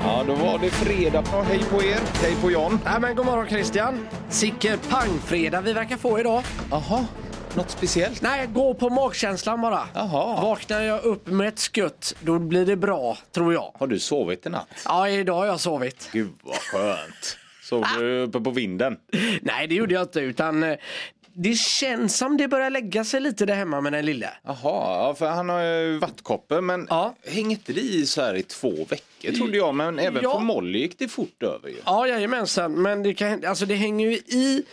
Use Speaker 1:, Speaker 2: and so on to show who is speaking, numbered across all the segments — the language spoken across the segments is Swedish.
Speaker 1: Ja, det är fredag. Ja, hej på er. Hej på John.
Speaker 2: Nej, men god morgon Christian. Sicken pangfredag vi verkar få idag.
Speaker 1: Jaha, något speciellt?
Speaker 2: Nej, gå på magkänslan bara.
Speaker 1: Jaha.
Speaker 2: Vaknar jag upp med ett skutt, då blir det bra, tror jag.
Speaker 1: Har du sovit i natt?
Speaker 2: Ja, idag har jag sovit.
Speaker 1: Gud vad skönt. Sov du uppe på vinden?
Speaker 2: Nej, det gjorde jag inte, utan eh, det känns som det börjar lägga sig lite där hemma med den lille.
Speaker 1: Jaha, ja, för han har ju vattkoppor men
Speaker 2: Ja.
Speaker 1: häng inte det i så här i två veckor trodde jag men även
Speaker 2: Ja.
Speaker 1: för Molly gick det fort över ju.
Speaker 2: Ja, jajamensan, men det, kan, alltså, det hänger ju i...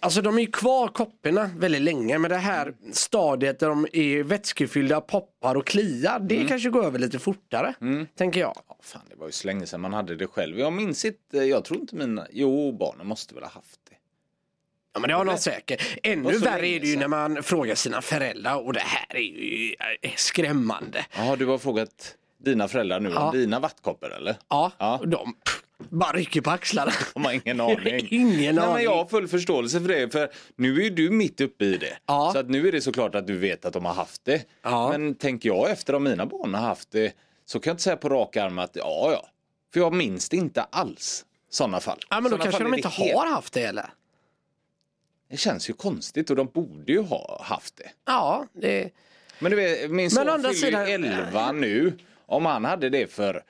Speaker 2: Alltså de är ju kvar kopporna väldigt länge men det här stadiet där de är vätskefyllda, poppar och kliar det kanske går över lite fortare tänker jag.
Speaker 1: Ja, fan det var ju så länge sedan man hade det själv. Jag minns inte, jag tror inte mina, jo barnen måste väl ha haft det.
Speaker 2: Ja men det har någon säkert.
Speaker 1: Och
Speaker 2: Ännu
Speaker 1: så
Speaker 2: värre
Speaker 1: länge
Speaker 2: är det ju
Speaker 1: sedan.
Speaker 2: när man frågar sina föräldrar och det här är ju eh, skrämmande.
Speaker 1: Jaha, du har frågat dina föräldrar nu
Speaker 2: Ja.
Speaker 1: om dina vattkoppor eller?
Speaker 2: Ja,
Speaker 1: Ja.
Speaker 2: och de pff, bara rycker på axlarna.
Speaker 1: De har ingen aning.
Speaker 2: Ingen
Speaker 1: Nej, men
Speaker 2: aning.
Speaker 1: jag har full förståelse för det. För nu är ju du mitt uppe i det.
Speaker 2: Ja.
Speaker 1: Så att nu är det såklart att du vet att de har haft det.
Speaker 2: Ja.
Speaker 1: Men tänker jag efter om mina barn har haft det så kan jag inte säga på rak arm att ja, ja. För jag minns det inte alls. Sådana fall.
Speaker 2: Ja men då
Speaker 1: Såna
Speaker 2: kanske
Speaker 1: fall
Speaker 2: de
Speaker 1: är
Speaker 2: inte
Speaker 1: det helt-
Speaker 2: har haft det eller?
Speaker 1: Det känns ju konstigt och de borde ju ha haft det.
Speaker 2: Ja, det...
Speaker 1: Men du vet, min
Speaker 2: å
Speaker 1: son
Speaker 2: andra
Speaker 1: fyller ju
Speaker 2: sidan-
Speaker 1: 11 nu. Om han hade det för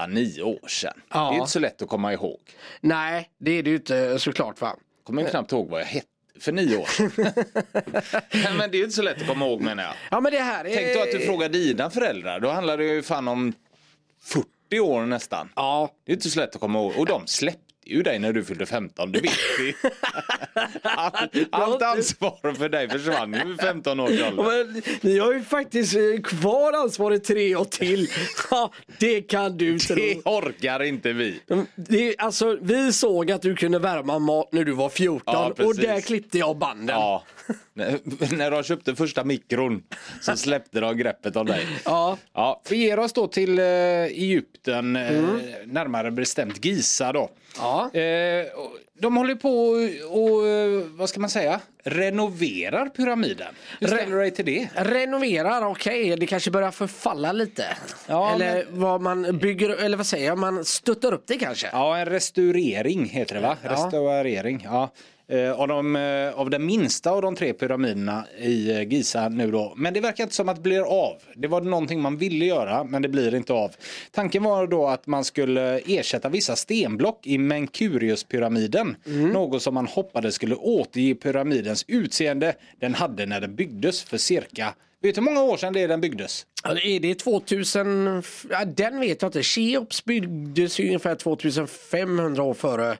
Speaker 1: 8-9 år sedan.
Speaker 2: Ja.
Speaker 1: Det är inte så lätt att komma ihåg.
Speaker 2: Nej, det är det ju inte såklart va.
Speaker 1: kommer jag knappt ihåg vad jag hette för nio år sedan. Nej, men det är ju inte så lätt att komma ihåg menar jag.
Speaker 2: Ja men det här är...
Speaker 1: Tänk då att du frågar dina föräldrar, då handlar det ju fan om 40 år nästan.
Speaker 2: Ja,
Speaker 1: Det är inte så lätt att komma ihåg. Och de släppte ju dig när du fyllde 15, det vet vi. All, allt ansvar för dig försvann ju vid 15 års
Speaker 2: Ja,
Speaker 1: ålder.
Speaker 2: Men, ni har ju faktiskt eh, kvar ansvaret tre år till. Ja, det kan du tro.
Speaker 1: Det orkar inte vi.
Speaker 2: Det, är- alltså, vi såg att du kunde värma mat när du var 14
Speaker 1: Ja, precis.
Speaker 2: och där klippte jag banden.
Speaker 1: Ja. När- När de köpte första mikron så släppte de greppet om dig.
Speaker 2: Ja.
Speaker 1: Ja, vi ger oss då till eh, Egypten, eh, närmare bestämt Giza då.
Speaker 2: Ja.
Speaker 1: Eh, och de håller på och, och, eh, vad ska man säga, renoverar pyramiden. Hur
Speaker 2: Re-
Speaker 1: ställer du dig till det?
Speaker 2: Renoverar, okej, det kanske börjar förfalla lite.
Speaker 1: Ja,
Speaker 2: eller vad man bygger, eller vad säger jag, man stöttar upp det kanske.
Speaker 1: Ja, en restaurering heter det va?
Speaker 2: Ja.
Speaker 1: Restaurering, ja. Eh, Av, de, eh, av den minsta av de tre pyramiderna i eh, Giza nu då. Men det verkar inte som att det blir av. Det var någonting man ville göra men det blir inte av. Tanken var då att man skulle ersätta vissa stenblock i Menkuriuspyramiden.
Speaker 2: Mm.
Speaker 1: Något som man hoppades skulle återge pyramidens utseende den hade när den byggdes för cirka, vet du hur många år sedan det är den byggdes?
Speaker 2: Ja, det Är det 2000, ja, den vet jag inte. Cheops byggdes ju ungefär 2500 år före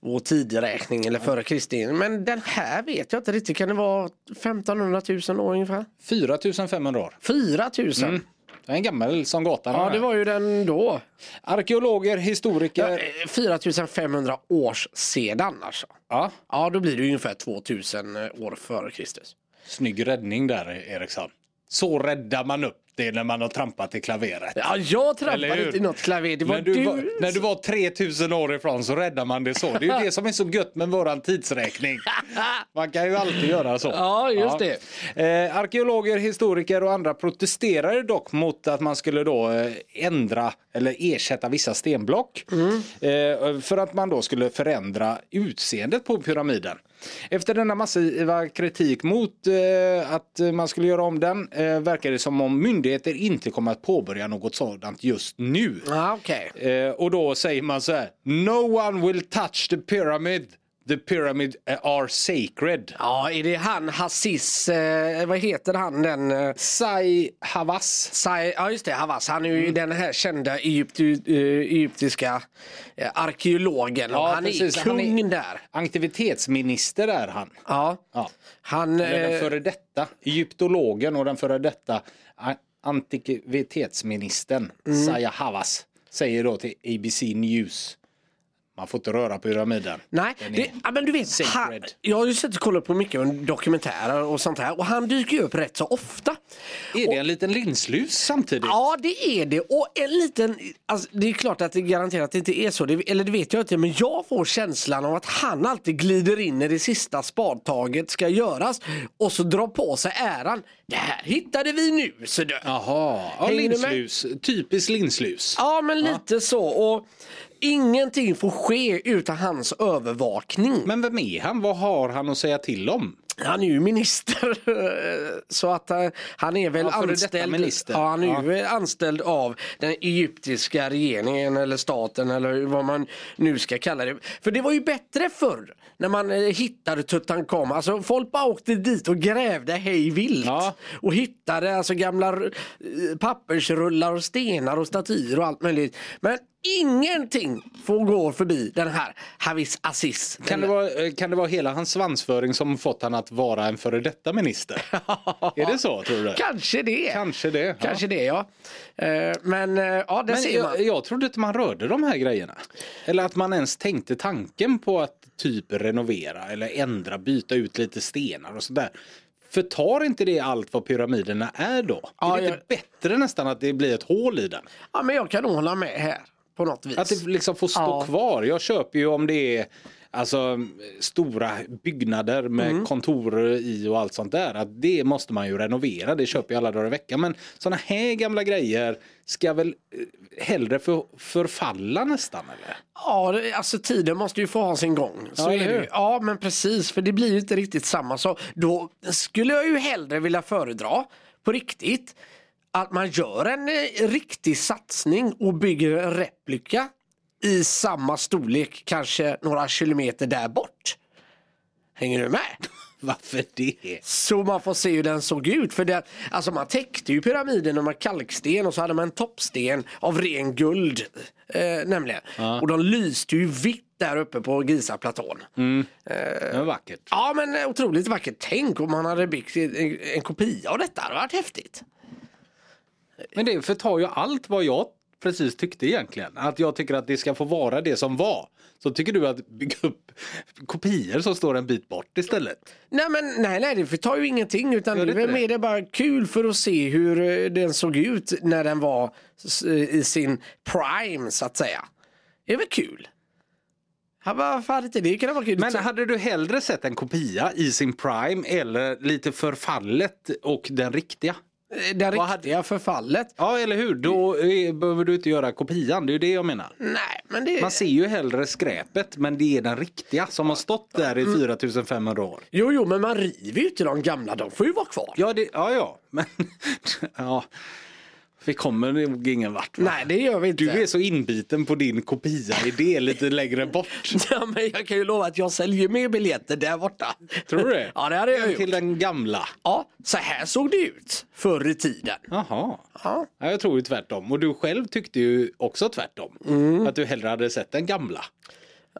Speaker 2: vår tideräkning eller före Kristi. Men den här vet jag inte riktigt, kan det vara 1500 000 år ungefär?
Speaker 1: 4500 år.
Speaker 2: 4000?
Speaker 1: Den är gammal som gatan. den
Speaker 2: Mm. Ja
Speaker 1: här.
Speaker 2: det var ju den då.
Speaker 1: Arkeologer, historiker.
Speaker 2: 4500 års sedan alltså.
Speaker 1: Ja.
Speaker 2: Ja då blir det ju ungefär 2000 år före Kristus.
Speaker 1: Snygg räddning där Eriksson. Så räddar man upp det när man har trampat i klaveret.
Speaker 2: Ja jag
Speaker 1: Eller
Speaker 2: trampade
Speaker 1: hur?
Speaker 2: inte i något klaver, det var
Speaker 1: När
Speaker 2: du.
Speaker 1: du, var, när du var 3000 år ifrån så räddar man det så. Det är ju det som är så gött med våran tidsräkning. Man kan ju alltid göra så.
Speaker 2: Ja, just
Speaker 1: det. Eh, arkeologer, historiker och andra protesterade dock mot att man skulle då eh, ändra eller ersätta vissa stenblock.
Speaker 2: Mm.
Speaker 1: Eh, för att man då skulle förändra utseendet på pyramiden. Efter denna massiva kritik mot eh, att man skulle göra om den eh, verkar det som om myndigheter inte kommer att påbörja något sådant just nu.
Speaker 2: Ja okej.
Speaker 1: Eh, och då säger man så här. No one will touch the pyramid. The pyramid are sacred.
Speaker 2: Ja, är det han Hassis, eh, vad heter han den? Eh,
Speaker 1: Sai Havas.
Speaker 2: Sai, ja just det, Havas. Han är
Speaker 1: Mm.
Speaker 2: ju den här kända egypti, eh, egyptiska eh, arkeologen.
Speaker 1: Ja,
Speaker 2: och han
Speaker 1: precis.
Speaker 2: är
Speaker 1: Han är-
Speaker 2: kung där.
Speaker 1: Aktivitetsminister är han.
Speaker 2: Ja.
Speaker 1: Ja.
Speaker 2: Han,
Speaker 1: Eller den
Speaker 2: eh,
Speaker 1: före detta egyptologen och den före detta a- antikvitetsministern
Speaker 2: Mm.
Speaker 1: Sai Havas säger då till ABC News. Man får inte röra pyramiden.
Speaker 2: nej,
Speaker 1: Den är-
Speaker 2: det, ja, men du vet, han,
Speaker 1: sacred.
Speaker 2: jag har ju sett och kollat på mycket dokumentärer och sånt här och han dyker ju upp rätt så ofta.
Speaker 1: Är det en liten linslus samtidigt?
Speaker 2: Ja det är det och en liten, alltså, det är klart att det garanterat inte är så, det, eller det vet jag inte men jag får känslan av att han alltid glider in när det sista spadtaget ska göras och så drar på sig äran. Det här hittade vi nu, så du.
Speaker 1: Jaha, ja,
Speaker 2: Hänger du med?
Speaker 1: linslus. Typiskt linslus.
Speaker 2: Ja, men lite så. Och ingenting får ske utan hans övervakning.
Speaker 1: Men vem är han? Vad har han att säga till om?
Speaker 2: Han är ju minister. Så att eh, han är väl
Speaker 1: Ja, före detta
Speaker 2: anställd.
Speaker 1: minister.
Speaker 2: Ja, han är ju anställd av den egyptiska regeringen eller staten eller vad man nu ska kalla det. För det var ju bättre förr när man eh, hittade Tutankhamun. Alltså folk bara åkte dit och grävde hej vilt.
Speaker 1: Ja.
Speaker 2: Och hittade alltså gamla eh, pappersrullar och stenar och statyer och allt möjligt. Men ingenting får gå förbi den här Havis Aziz.
Speaker 1: Kan det, vara, eh, kan det vara hela hans svansföring som fått han att vara en före detta minister? är det så tror du?
Speaker 2: Kanske det.
Speaker 1: Kanske det. ja.
Speaker 2: Kanske det ja. Eh, Men eh, ja, det
Speaker 1: Men
Speaker 2: ser
Speaker 1: jag,
Speaker 2: man.
Speaker 1: jag trodde inte man rörde de här grejerna. Eller att man ens tänkte tanken på att typ renovera eller ändra, byta ut lite stenar och sådär. Förtar inte det allt vad pyramiderna är då?
Speaker 2: Ja,
Speaker 1: är det inte bättre nästan att det blir ett hål i den?
Speaker 2: Ja, men jag kan nog hålla med här på något vis.
Speaker 1: Att det liksom får stå
Speaker 2: Ja.
Speaker 1: kvar. Jag köper ju om det är alltså, stora byggnader med kontor i och allt sånt där. Att det måste man ju renovera, det köper jag alla dagar i veckan. Men såna här gamla grejer ska väl eh, hellre för, förfalla nästan eller?
Speaker 2: Ja, det- alltså tiden måste ju få ha sin gång. Så
Speaker 1: Ja,
Speaker 2: är
Speaker 1: eller
Speaker 2: det
Speaker 1: hur?
Speaker 2: ju. ja, men precis. För det blir ju inte riktigt samma sak. Då skulle jag ju hellre vilja föredra på riktigt att man gör en eh, riktig satsning och bygger en replika i samma storlek, kanske några kilometer där bort. Hänger du med?
Speaker 1: Varför det?
Speaker 2: Så man får se hur den såg ut. För det, alltså man täckte ju pyramiden med kalksten och så hade man en toppsten av ren guld. Eh, nämligen. Och de lyste ju vitt där uppe på Gizaplatån.
Speaker 1: Mm. Det var vackert.
Speaker 2: Ja men eh, otroligt vackert. Tänk om man hade byggt en, en kopia av detta. Det hade varit häftigt.
Speaker 1: Men det förtar ju allt vad jag precis tyckte egentligen. Att jag tycker att det ska få vara det som var. Så tycker du att bygga upp kopior som står en bit bort istället?
Speaker 2: Nej men nej, nej det förtar ju ingenting utan det
Speaker 1: Gör
Speaker 2: är
Speaker 1: det
Speaker 2: väl
Speaker 1: inte det?
Speaker 2: mer det bara kul för att se hur eh, den såg ut när den var s- i sin prime så att säga. Det är väl kul? Ja, Varför hade inte det kunnat vara kul?
Speaker 1: Men hade du hellre sett en kopia i sin prime eller lite förfallet och den riktiga?
Speaker 2: det
Speaker 1: Vad
Speaker 2: Eh, riktiga förfallet.
Speaker 1: Ja, eller hur? Då eh, behöver du inte göra kopian, det är ju det jag menar.
Speaker 2: Nej, men det...
Speaker 1: Man ser ju hellre skräpet, men det är den riktiga som har stått där i
Speaker 2: Mm.
Speaker 1: 4500 år.
Speaker 2: Jo, jo, men man river ju inte de gamla. De får ju vara kvar.
Speaker 1: Ja, det, ja, ja, men ja. Vi kommer nog ingen vart. va?
Speaker 2: Nej, det gör vi inte.
Speaker 1: Du är så inbiten på din kopia-idé lite längre bort.
Speaker 2: Ja, men jag kan ju lova att jag säljer mer biljetter där borta.
Speaker 1: Tror du det?
Speaker 2: Ja, det Mm. hade jag
Speaker 1: Hem
Speaker 2: gjort.
Speaker 1: Till den gamla.
Speaker 2: Ja, så här såg det ut förr i tiden.
Speaker 1: Jaha.
Speaker 2: Ja.
Speaker 1: Ja, jag tror ju tvärtom. Och du själv tyckte ju också tvärtom.
Speaker 2: Mm.
Speaker 1: Att du hellre hade sett den gamla.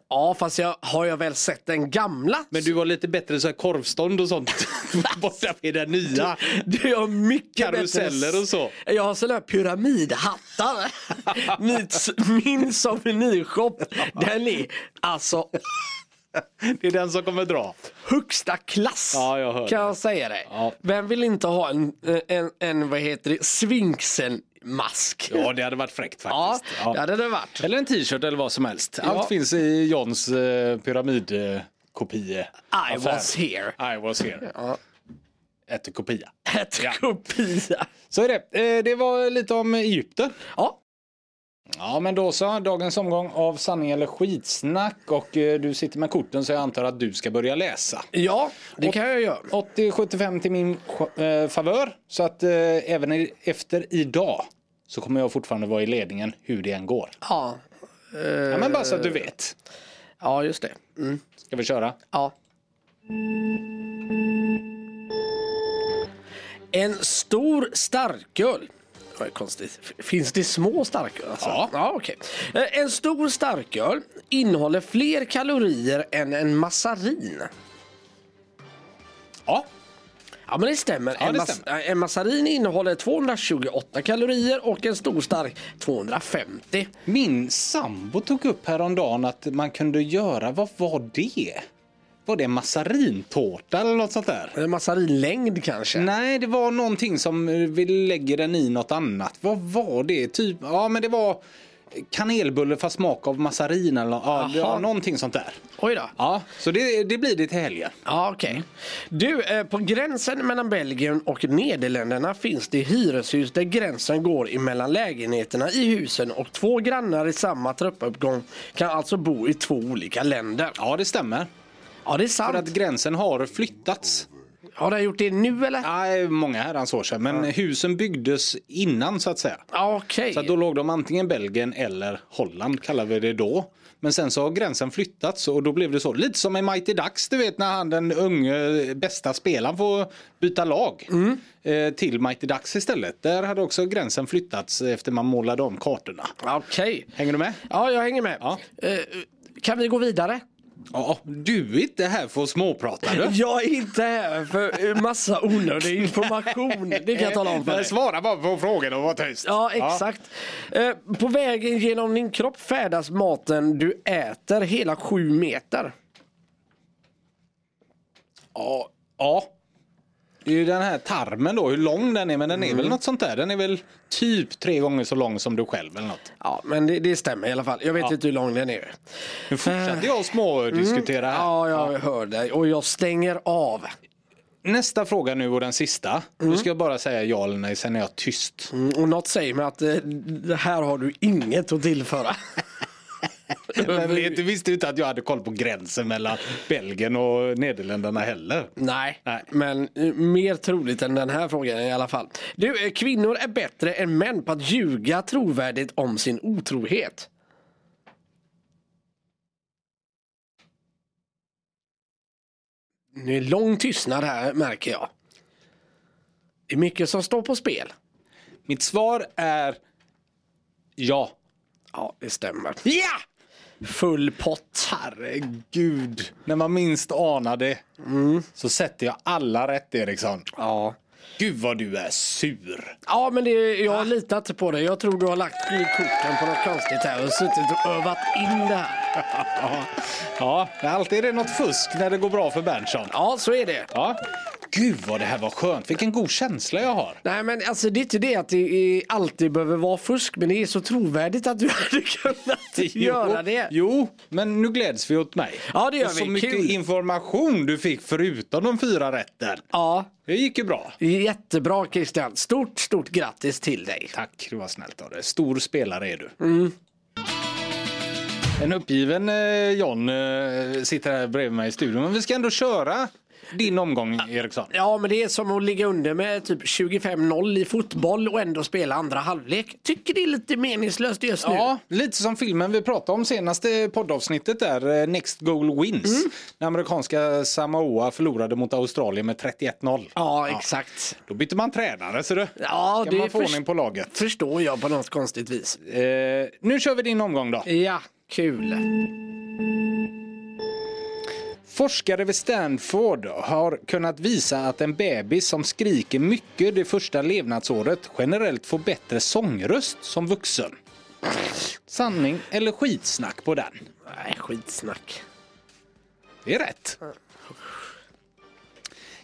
Speaker 2: ja, fast jag, har jag väl sett den gamla?
Speaker 1: Men du var lite bättre så här korvstånd och sånt borta vid den nya.
Speaker 2: Du har mycket
Speaker 1: Karuseller
Speaker 2: bättre-
Speaker 1: och så.
Speaker 2: Jag har sådana här pyramidhattar. min, min souvenirshop, den är alltså
Speaker 1: Det är den som kommer dra.
Speaker 2: högsta klass
Speaker 1: Ja, jag hör
Speaker 2: kan
Speaker 1: det.
Speaker 2: jag säga dig.
Speaker 1: Ja.
Speaker 2: Vem vill inte ha en, en, en vad heter det, svinkselmask?
Speaker 1: Ja, det hade varit fräckt
Speaker 2: ja,
Speaker 1: faktiskt.
Speaker 2: det hade det varit.
Speaker 1: Eller en t-shirt eller vad som helst. Allt
Speaker 2: Ja.
Speaker 1: finns i Johns eh, pyramidkopie.
Speaker 2: I was here.
Speaker 1: I was here.
Speaker 2: Ja.
Speaker 1: Ett kopia.
Speaker 2: Ett
Speaker 1: Ja.
Speaker 2: kopia.
Speaker 1: Så är det. Eh, Det var lite om Egypten.
Speaker 2: Ja,
Speaker 1: Ja men då så, dagens omgång av sanning eller skitsnack och eh, du sitter med korten så jag antar att du ska börja läsa.
Speaker 2: ja, det kan jag göra.
Speaker 1: 80-75 till min eh, favör så att eh, även i, efter idag så kommer jag fortfarande vara i ledningen hur det än går.
Speaker 2: Ja,
Speaker 1: Ja, men bara så att du vet.
Speaker 2: ja just det. Mm.
Speaker 1: Ska vi köra?
Speaker 2: Ja. En stor starköl. Vad konstigt. F- Finns det små starköl? Alltså?
Speaker 1: Ja.
Speaker 2: ja okej. Eh, En stor starköl innehåller fler kalorier än en massarin.
Speaker 1: Ja.
Speaker 2: Ja men det stämmer.
Speaker 1: Ja,
Speaker 2: en,
Speaker 1: det
Speaker 2: mas-
Speaker 1: stämmer.
Speaker 2: eh, en massarin innehåller 228 kalorier och en stor stark 250.
Speaker 1: Min sambo tog upp häromdagen att man kunde göra, vad var det? Var det en massarintårta eller något sånt där?
Speaker 2: En massarinlängd kanske?
Speaker 1: Nej, det var någonting som eh, vi lägger den i något annat. Vad var det? Typ, ja men det var kanelbulle fast smak av massarin eller ja, ja,
Speaker 2: Jaha.
Speaker 1: någonting sånt där.
Speaker 2: Oj då.
Speaker 1: Ja, så det, det blir det till helgen.
Speaker 2: Ja, okej. Du, eh, på gränsen mellan Belgien och Nederländerna finns det hyreshus där gränsen går emellan lägenheterna i husen och två grannar i samma trappuppgång kan alltså bo i två olika länder.
Speaker 1: Ja, det stämmer.
Speaker 2: Ja, det är
Speaker 1: För att
Speaker 2: sant.
Speaker 1: gränsen har flyttats.
Speaker 2: Har de gjort det nu eller?
Speaker 1: Nej, många herrans år sedan. Men husen byggdes innan så att säga.
Speaker 2: Ja, okej.
Speaker 1: Så att då låg de antingen Belgien eller Holland kallar vi det då. Men sen så har gränsen flyttats och då blev det så. Lite som i Mighty Ducks, du vet när han den unge bästa spelaren får byta lag eh, till Mighty Ducks istället. Där hade också gränsen flyttats efter man målade om kartorna.
Speaker 2: Okej.
Speaker 1: Hänger du med?
Speaker 2: Ja, jag hänger med.
Speaker 1: Ja.
Speaker 2: Eh, Kan vi gå vidare?
Speaker 1: Ja, du är inte här för att småprata du.
Speaker 2: Jag är inte här för massa onödig information. Det kan jag tala om för dig.
Speaker 1: Svara bara på frågan och var tyst.
Speaker 2: Ja, exakt. Eh, På vägen genom din kropp färdas maten du äter hela sju meter.
Speaker 1: Ja. ja. Det är ju den här tarmen då, hur lång den är, men den är väl något sånt där. Den är väl typ tre gånger så lång som du själv eller något.
Speaker 2: Ja, men det, det stämmer i alla fall. Jag vet inte hur lång den är.
Speaker 1: Nu fortsatte jag smådiskutera här.
Speaker 2: Mm. Ja, jag hör dig och jag stänger av.
Speaker 1: Nästa fråga nu och den sista. Nu ska jag bara säga ja eller nej, sen är jag tyst.
Speaker 2: Mm, Och något säger mig att eh, det här har du inget att tillföra.
Speaker 1: Men vet, du visste ju inte att jag hade koll på gränsen mellan Belgien och Nederländerna heller.
Speaker 2: Nej,
Speaker 1: Nej.
Speaker 2: men eh, mer troligt än den här frågan i alla fall. Du, eh, kvinnor är bättre än män på att ljuga trovärdigt om sin otrohet. Nu är lång tystnad här märker jag. Det är mycket som står på spel.
Speaker 1: Mitt svar är ja.
Speaker 2: Ja, det stämmer.
Speaker 1: Ja!
Speaker 2: Full pott.
Speaker 1: Herregud. När man minst anar det så sätter jag alla rätt Eriksson.
Speaker 2: Ja.
Speaker 1: Gud vad du är sur.
Speaker 2: Ja, men det,
Speaker 1: Ah.
Speaker 2: jag har litat på dig. Jag tror du har lagt korten på något konstigt här och suttit och övat in det här.
Speaker 1: Ja, men alltid är det något fusk när det går bra för Berntsson.
Speaker 2: Ja, så är det.
Speaker 1: Ja. Gud vad det här var skönt. Vilken god känsla jag har.
Speaker 2: Nej men alltså det är inte det att det är- alltid behöver vara fusk men det är så trovärdigt att du hade kunnat göra det.
Speaker 1: Jo, men nu gläds vi åt mig.
Speaker 2: Ja, det gör
Speaker 1: Och så
Speaker 2: vi.
Speaker 1: mycket
Speaker 2: Kul.
Speaker 1: information du fick förutom de fyra rätten.
Speaker 2: Ja,
Speaker 1: Det gick ju bra.
Speaker 2: jättebra Christian. Stort, stort grattis till dig.
Speaker 1: Tack, det var snällt av dig. Stor spelare är du.
Speaker 2: Mm.
Speaker 1: En uppgiven eh, John eh, sitter här bredvid mig i studion. Men vi ska ändå köra din omgång, Eriksson.
Speaker 2: Ja men det är som att ligga under med typ 25-0 i fotboll och ändå spela andra halvlek. Tycker det är lite meningslöst just nu.
Speaker 1: Ja, lite som filmen vi pratade om senaste poddavsnittet där, eh, Next Goal Wins.
Speaker 2: Mm.
Speaker 1: När amerikanska Samoa förlorade mot Australien med 31-0.
Speaker 2: Ja, exakt.
Speaker 1: Då bytte man tränare, ser du.
Speaker 2: Ja,
Speaker 1: Kan
Speaker 2: det
Speaker 1: man få
Speaker 2: förs-
Speaker 1: ordning på laget.
Speaker 2: förstår jag på något konstigt vis.
Speaker 1: Eh, nu kör vi din omgång då.
Speaker 2: Ja, kul.
Speaker 1: Forskare vid Stanford har kunnat visa att en bebis som skriker mycket det första levnadsåret generellt får bättre sångröst som vuxen. Sanning eller skitsnack på den?
Speaker 2: Nej, Äh, skitsnack.
Speaker 1: Det är rätt.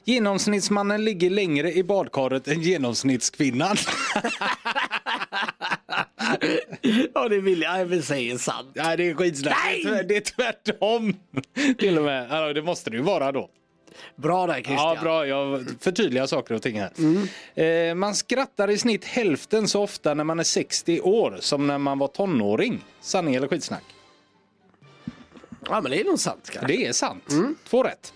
Speaker 1: Genomsnittsmannen ligger längre i badkaret än genomsnittskvinnan.
Speaker 2: Ja, det vill jag. Jag säger sant.
Speaker 1: Nej, det är skitsnack.
Speaker 2: Nej!
Speaker 1: Det är tvärt- Det är tvärtom. Till och med. Alltså, det måste det ju vara då.
Speaker 2: Bra där Christian.
Speaker 1: Ja, bra. Jag förtydligar saker och ting här. Eh, man skrattar i snitt hälften så ofta när man är 60 år som när man var tonåring. Sanning eller skitsnack?
Speaker 2: Ja, men det är nog sant. kanske.
Speaker 1: Det är sant.
Speaker 2: Mm.
Speaker 1: Två rätt.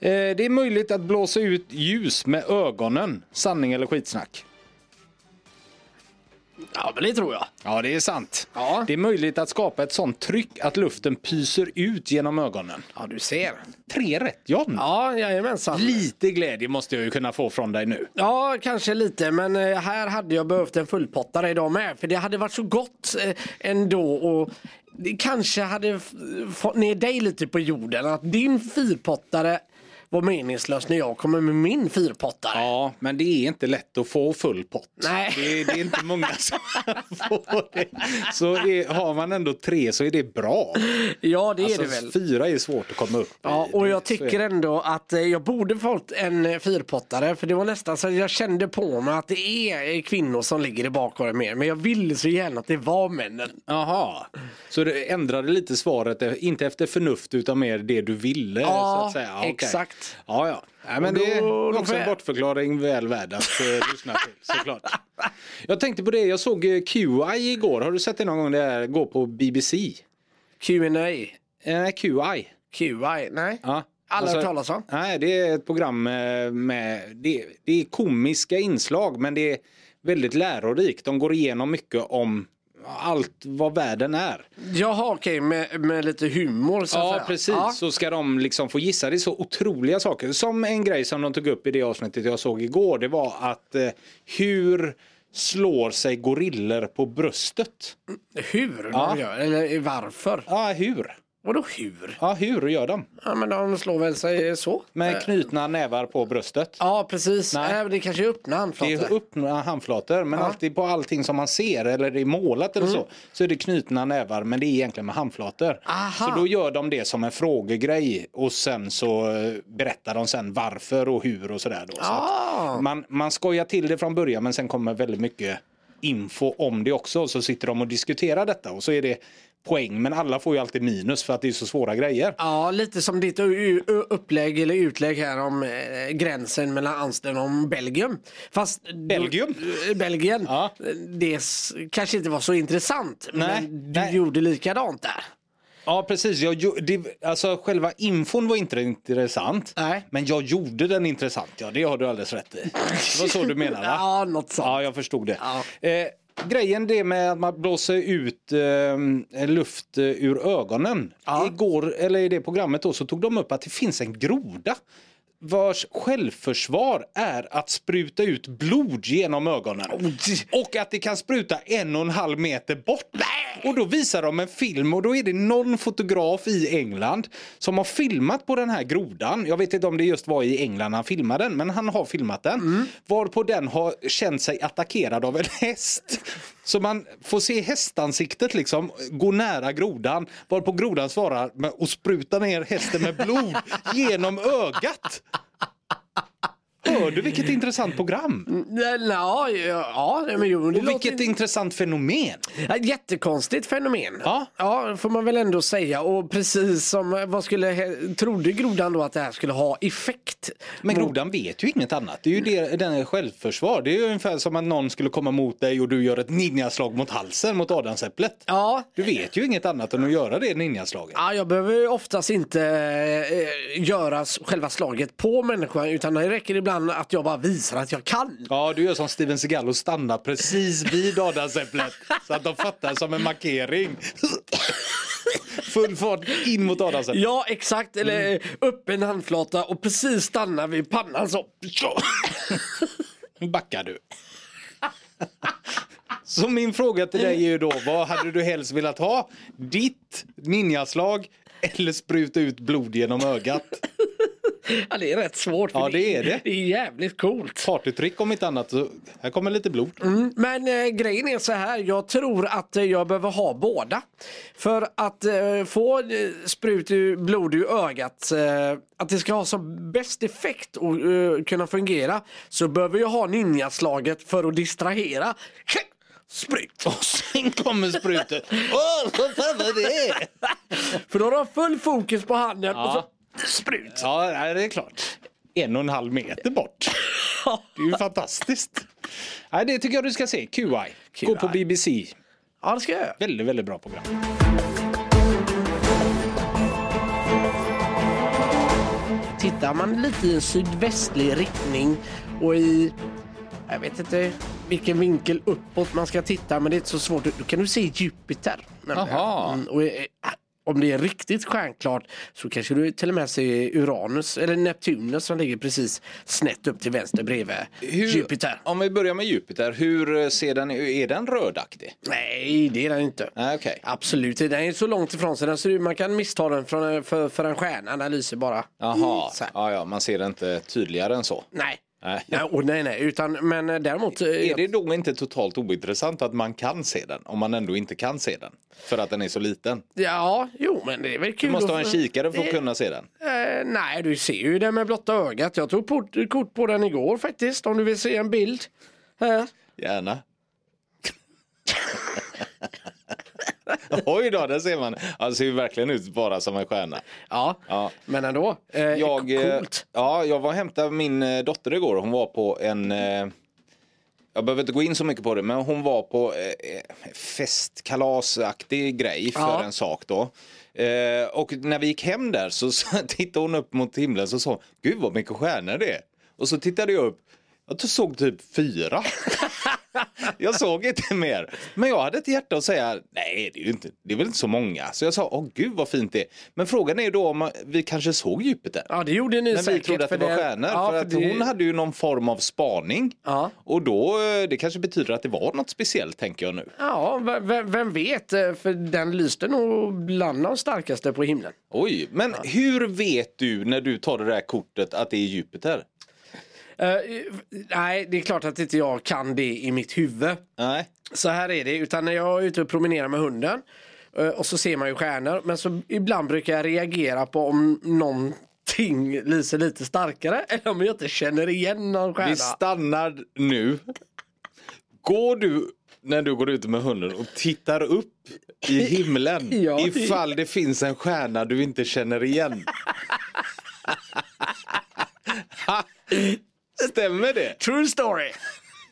Speaker 1: Eh, det är möjligt att blåsa ut ljus med ögonen. Sanning eller skitsnack?
Speaker 2: Ja, men det tror jag.
Speaker 1: Ja, det är sant.
Speaker 2: Ja.
Speaker 1: Det är möjligt att skapa ett sånt tryck att luften pyser ut genom ögonen.
Speaker 2: Ja, du ser.
Speaker 1: Tre rätt, John.
Speaker 2: Ja, jajamensan.
Speaker 1: Lite glädje måste jag ju kunna få från dig nu.
Speaker 2: Ja, kanske lite, men eh, här hade jag behövt en fullpottare idag med. För det hade varit så gott eh, ändå. Och det kanske hade f- fått ner dig lite på jorden. Att din fyrpottare var meningslös när jag kommer med min fyrpottare.
Speaker 1: Ja, men det är inte lätt att få full pott.
Speaker 2: Nej.
Speaker 1: Det, det är inte många som får det. Så är, har man ändå tre så är det bra.
Speaker 2: Ja, det
Speaker 1: Alltså,
Speaker 2: är det väl.
Speaker 1: Fyra är svårt att komma upp i.
Speaker 2: Ja, och
Speaker 1: Det-
Speaker 2: jag
Speaker 1: så är
Speaker 2: tycker ändå att eh, jag borde fått en eh, fyrpottare för det var nästan så att jag kände på mig att det är eh, kvinnor som ligger i bakgården mer. Men jag ville så gärna att det var männen.
Speaker 1: Jaha, så du ändrade lite svaret, eh, inte efter förnuft utan mer det du ville?
Speaker 2: Ja,
Speaker 1: så att säga. okej.
Speaker 2: exakt.
Speaker 1: Ja, ja. Nej, men
Speaker 2: Och då-
Speaker 1: det
Speaker 2: liksom då
Speaker 1: är
Speaker 2: får
Speaker 1: också en
Speaker 2: jag-
Speaker 1: bortförklaring väl värd att eh, lyssna till såklart. Jag tänkte på det, jag såg eh, QI igår, har du sett det någon gång? Det här går på BBC?
Speaker 2: Q&A.
Speaker 1: Eh, QI?
Speaker 2: QI, nej.
Speaker 1: Ja. Alltså,
Speaker 2: Alla hört talas om.
Speaker 1: Nej, det är ett program eh, med, det, det är komiska inslag men det är väldigt lärorikt. De går igenom mycket om allt vad världen är.
Speaker 2: Jaha, okej, med, med lite humor så att
Speaker 1: Ja
Speaker 2: säga.
Speaker 1: precis, så ska de liksom få gissa. Det är så otroliga saker. Som en grej som de tog upp i det avsnittet jag såg igår. Det var att eh, hur slår sig gorillor på bröstet?
Speaker 2: Hur
Speaker 1: Ja.
Speaker 2: de gör, eller varför.
Speaker 1: Ja, hur?
Speaker 2: Vadå hur?
Speaker 1: Ja, hur gör de?
Speaker 2: Ja, men de slår väl sig så. Eh,
Speaker 1: Med knutna nävar på bröstet.
Speaker 2: Ja, precis.
Speaker 1: Nej.
Speaker 2: Nej. men det kanske är öppna
Speaker 1: Det är
Speaker 2: handflator.
Speaker 1: öppna handflator, men
Speaker 2: Ja.
Speaker 1: alltid på allting som man ser eller det är målat eller så, så är det knutna nävar, men det är egentligen med handflator.
Speaker 2: Aha.
Speaker 1: Så då gör de det som en frågegrej och sen så eh, berättar de sen varför och hur och sådär då. Så att-
Speaker 2: Ah.
Speaker 1: Man, man skojar till det från början men sen kommer väldigt mycket info om det också. Och så sitter de och diskuterar detta och så är det poäng. Men alla får ju alltid minus för att det är så svåra grejer.
Speaker 2: Ja, lite som ditt u- u- upplägg eller utlägg här om eh, gränsen mellan Amsterdam och Belgien. Fast
Speaker 1: Belgium?
Speaker 2: Eh, Belgien,
Speaker 1: Ja.
Speaker 2: Eh, det s- kanske inte var så intressant.
Speaker 1: Nej,
Speaker 2: men du
Speaker 1: nej.
Speaker 2: gjorde likadant där.
Speaker 1: Ja precis, jag, gjo- det, alltså själva infon var inte intressant.
Speaker 2: Nej.
Speaker 1: Men jag gjorde den intressant, ja det har du alldeles rätt i. Det var så du menar va?
Speaker 2: Ja, något sånt.
Speaker 1: Ja, jag förstod det.
Speaker 2: Ja.
Speaker 1: Eh, grejen det med att man blåser ut eh, luft eh, ur ögonen.
Speaker 2: Ja.
Speaker 1: Igår, eller i det programmet då, så tog de upp att det finns en groda vars självförsvar är att spruta ut blod genom ögonen. Och att det kan spruta en och en halv meter bort. Och då visar de en film och då är det någon fotograf i England som har filmat på den här grodan. Jag vet inte om det just var i England han filmade den, men han har filmat den. Varpå den har känt sig attackerad av en häst. Så man får se hästansiktet liksom gå nära grodan, varpå grodan svarar med att spruta ner hästen med blod genom ögat. Hör du vilket intressant program?
Speaker 2: Ja, Mm, ja, ja, men jo, det
Speaker 1: Och
Speaker 2: låter
Speaker 1: vilket intressant fenomen.
Speaker 2: Ja, ett jättekonstigt fenomen.
Speaker 1: Ja.
Speaker 2: ja, får man väl ändå säga. Och precis som, eh, vad skulle, he- trodde grodan då att det här skulle ha effekt?
Speaker 1: Men
Speaker 2: Mm.
Speaker 1: grodan vet ju inget annat. Det är ju det, den är självförsvar. Det är ju ungefär som att någon skulle komma mot dig och du gör ett ninjaslag mot halsen mot adamsäpplet.
Speaker 2: Ja,
Speaker 1: Du vet ju inget annat än att göra det ninjaslaget.
Speaker 2: Ja, jag behöver ju oftast inte eh, göra s- själva slaget på människan utan det räcker ibland att jag bara visar att jag kan.
Speaker 1: Ja, du gör som Steven Seagal och stannar precis vid adamsäpplet så att de fattar som en markering. Full fart in mot adamsäpplet.
Speaker 2: Ja, exakt. Eller mm. upp en handflata och precis stanna vid pannan så.
Speaker 1: Nu backar du. Så min fråga till dig är ju då, vad hade du helst velat ha? Ditt ninjaslag eller spruta ut blod genom ögat?
Speaker 2: Ja, det är rätt svårt. för
Speaker 1: Ja, det är det.
Speaker 2: Det är jävligt coolt.
Speaker 1: Partytrick om inte annat, så här kommer lite blod.
Speaker 2: Mm, Men eh, grejen är så här, jag tror att eh, jag behöver ha båda. För att eh, få eh, sprut ur, blod ur ögat, eh, att det ska ha som bäst effekt och eh, kunna fungera så behöver jag ha ninjaslaget för att distrahera. Sprut!
Speaker 1: Och sen kommer sprutet. Åh, vad fan var det?
Speaker 2: För då har jag full fokus på handen och
Speaker 1: Ja.
Speaker 2: så sprut.
Speaker 1: Ja, nej, det är klart. En och en halv meter bort. Det är ju fantastiskt. Nej, det tycker jag du ska se. QI. Gå på BBC.
Speaker 2: Ja, det ska jag göra.
Speaker 1: Väldigt, väldigt bra program.
Speaker 2: Tittar man lite i en sydvästlig riktning och i, jag vet inte vilken vinkel uppåt man ska titta men det är inte så svårt. Då kan du se Jupiter. nämligen.
Speaker 1: Aha.
Speaker 2: Mm, och, eh, om det är riktigt stjärnklart så kanske du till och med ser Uranus eller Neptunus som ligger precis snett upp till vänster bredvid Jupiter.
Speaker 1: Om vi börjar med Jupiter, hur eh, ser den ut? Är den rödaktig?
Speaker 2: Nej, det är den inte.
Speaker 1: Nej, okej.
Speaker 2: Absolut, den är så långt ifrån sig. Den ser ut- Man kan missta den från, eh, för, för en stjärna, den lyser bara.
Speaker 1: Jaha,
Speaker 2: mm, Så här.
Speaker 1: ja, ja, man ser det inte tydligare än så.
Speaker 2: Nej.
Speaker 1: Nej.
Speaker 2: Nej, och nej, nej, utan men eh, däremot. eh,
Speaker 1: Är det då inte totalt ointressant att man kan se den om man ändå inte kan se den? För att den är så liten.
Speaker 2: Ja, jo men det är väl kul.
Speaker 1: Du måste
Speaker 2: att
Speaker 1: ha en
Speaker 2: få-
Speaker 1: kikare för att
Speaker 2: Eh,
Speaker 1: kunna se den.
Speaker 2: Eh, nej, du ser ju den med blotta ögat. Jag tog port- kort på den igår faktiskt, om du vill se en bild. Eh, Här.
Speaker 1: Gärna. Oj då, där ser man. Han ser ju verkligen ut bara som en stjärna.
Speaker 2: Ja,
Speaker 1: Ja.
Speaker 2: men ändå. Eh,
Speaker 1: Jag, eh,
Speaker 2: coolt.
Speaker 1: ja, jag var och hämtade min eh, dotter igår. Hon var på en... eh, Jag behöver inte gå in så mycket på det, men hon var på eh, festkalasaktig grej för
Speaker 2: Ja.
Speaker 1: en sak då. Eh, Och när vi gick hem där så så tittade hon upp mot himlen så sa hon, gud vad mycket stjärnor det är. Och så tittade jag upp, jag såg typ fyra. Jag såg inte mer. Men jag hade ett hjärta att säga, nej det är, ju inte, det är väl inte så många. Så jag sa, åh gud vad fint det är. Men frågan är ju då om vi kanske såg Jupiter.
Speaker 2: Ja, det gjorde ni
Speaker 1: Men vi
Speaker 2: säkert.
Speaker 1: trodde att det
Speaker 2: för
Speaker 1: var stjärnor.
Speaker 2: Ja,
Speaker 1: för att
Speaker 2: det-
Speaker 1: hon hade ju någon form av spaning.
Speaker 2: Ja.
Speaker 1: Och då, eh, det kanske betyder att det var något speciellt tänker jag nu.
Speaker 2: Ja, v- v- vem vet? eh, För den lyste nog bland de starkaste på himlen.
Speaker 1: Oj, men hur vet du när du tar det där kortet att det är Jupiter?
Speaker 2: Eh, nej, det är klart att inte jag kan det i mitt huvud.
Speaker 1: Nej.
Speaker 2: Så här är det, utan när jag är ute och promenerar med hunden eh, och så ser man ju stjärnor. Men så ibland brukar jag reagera på om någonting lyser lite starkare eller om jag inte känner igen någon stjärna.
Speaker 1: Vi stannar nu. Går du när du går ut med hunden och tittar upp i himlen
Speaker 2: Ja.
Speaker 1: ifall det finns en stjärna du inte känner igen? Ha, Stämmer det?
Speaker 2: True story!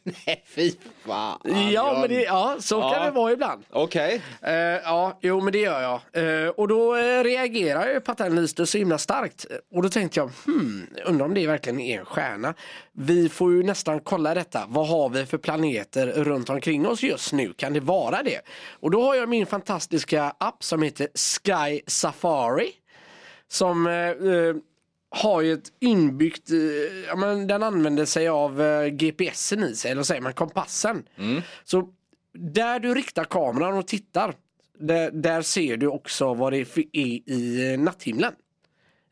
Speaker 1: Nej, fy fan.
Speaker 2: ja, men det, ja, så
Speaker 1: Ja.
Speaker 2: kan det vara ibland.
Speaker 1: Okej.
Speaker 2: Eh, ja, jo men det gör jag. Eh, och då eh, reagerar jag ju på att den lyste så himla starkt. Eh, Och då tänkte jag, hmm, undrar om det verkligen är en stjärna. Vi får ju nästan kolla detta. Vad har vi för planeter runt omkring oss just nu? Kan det vara det? Och då har jag min fantastiska app som heter Sky Safari. Som eh, eh, har ju ett inbyggt, eh, ja, men den använder sig av eh, GPSen i sig, eller vad säger man, kompassen. Så där du riktar kameran och tittar, där, där ser du också vad det är för- är i eh, natthimlen.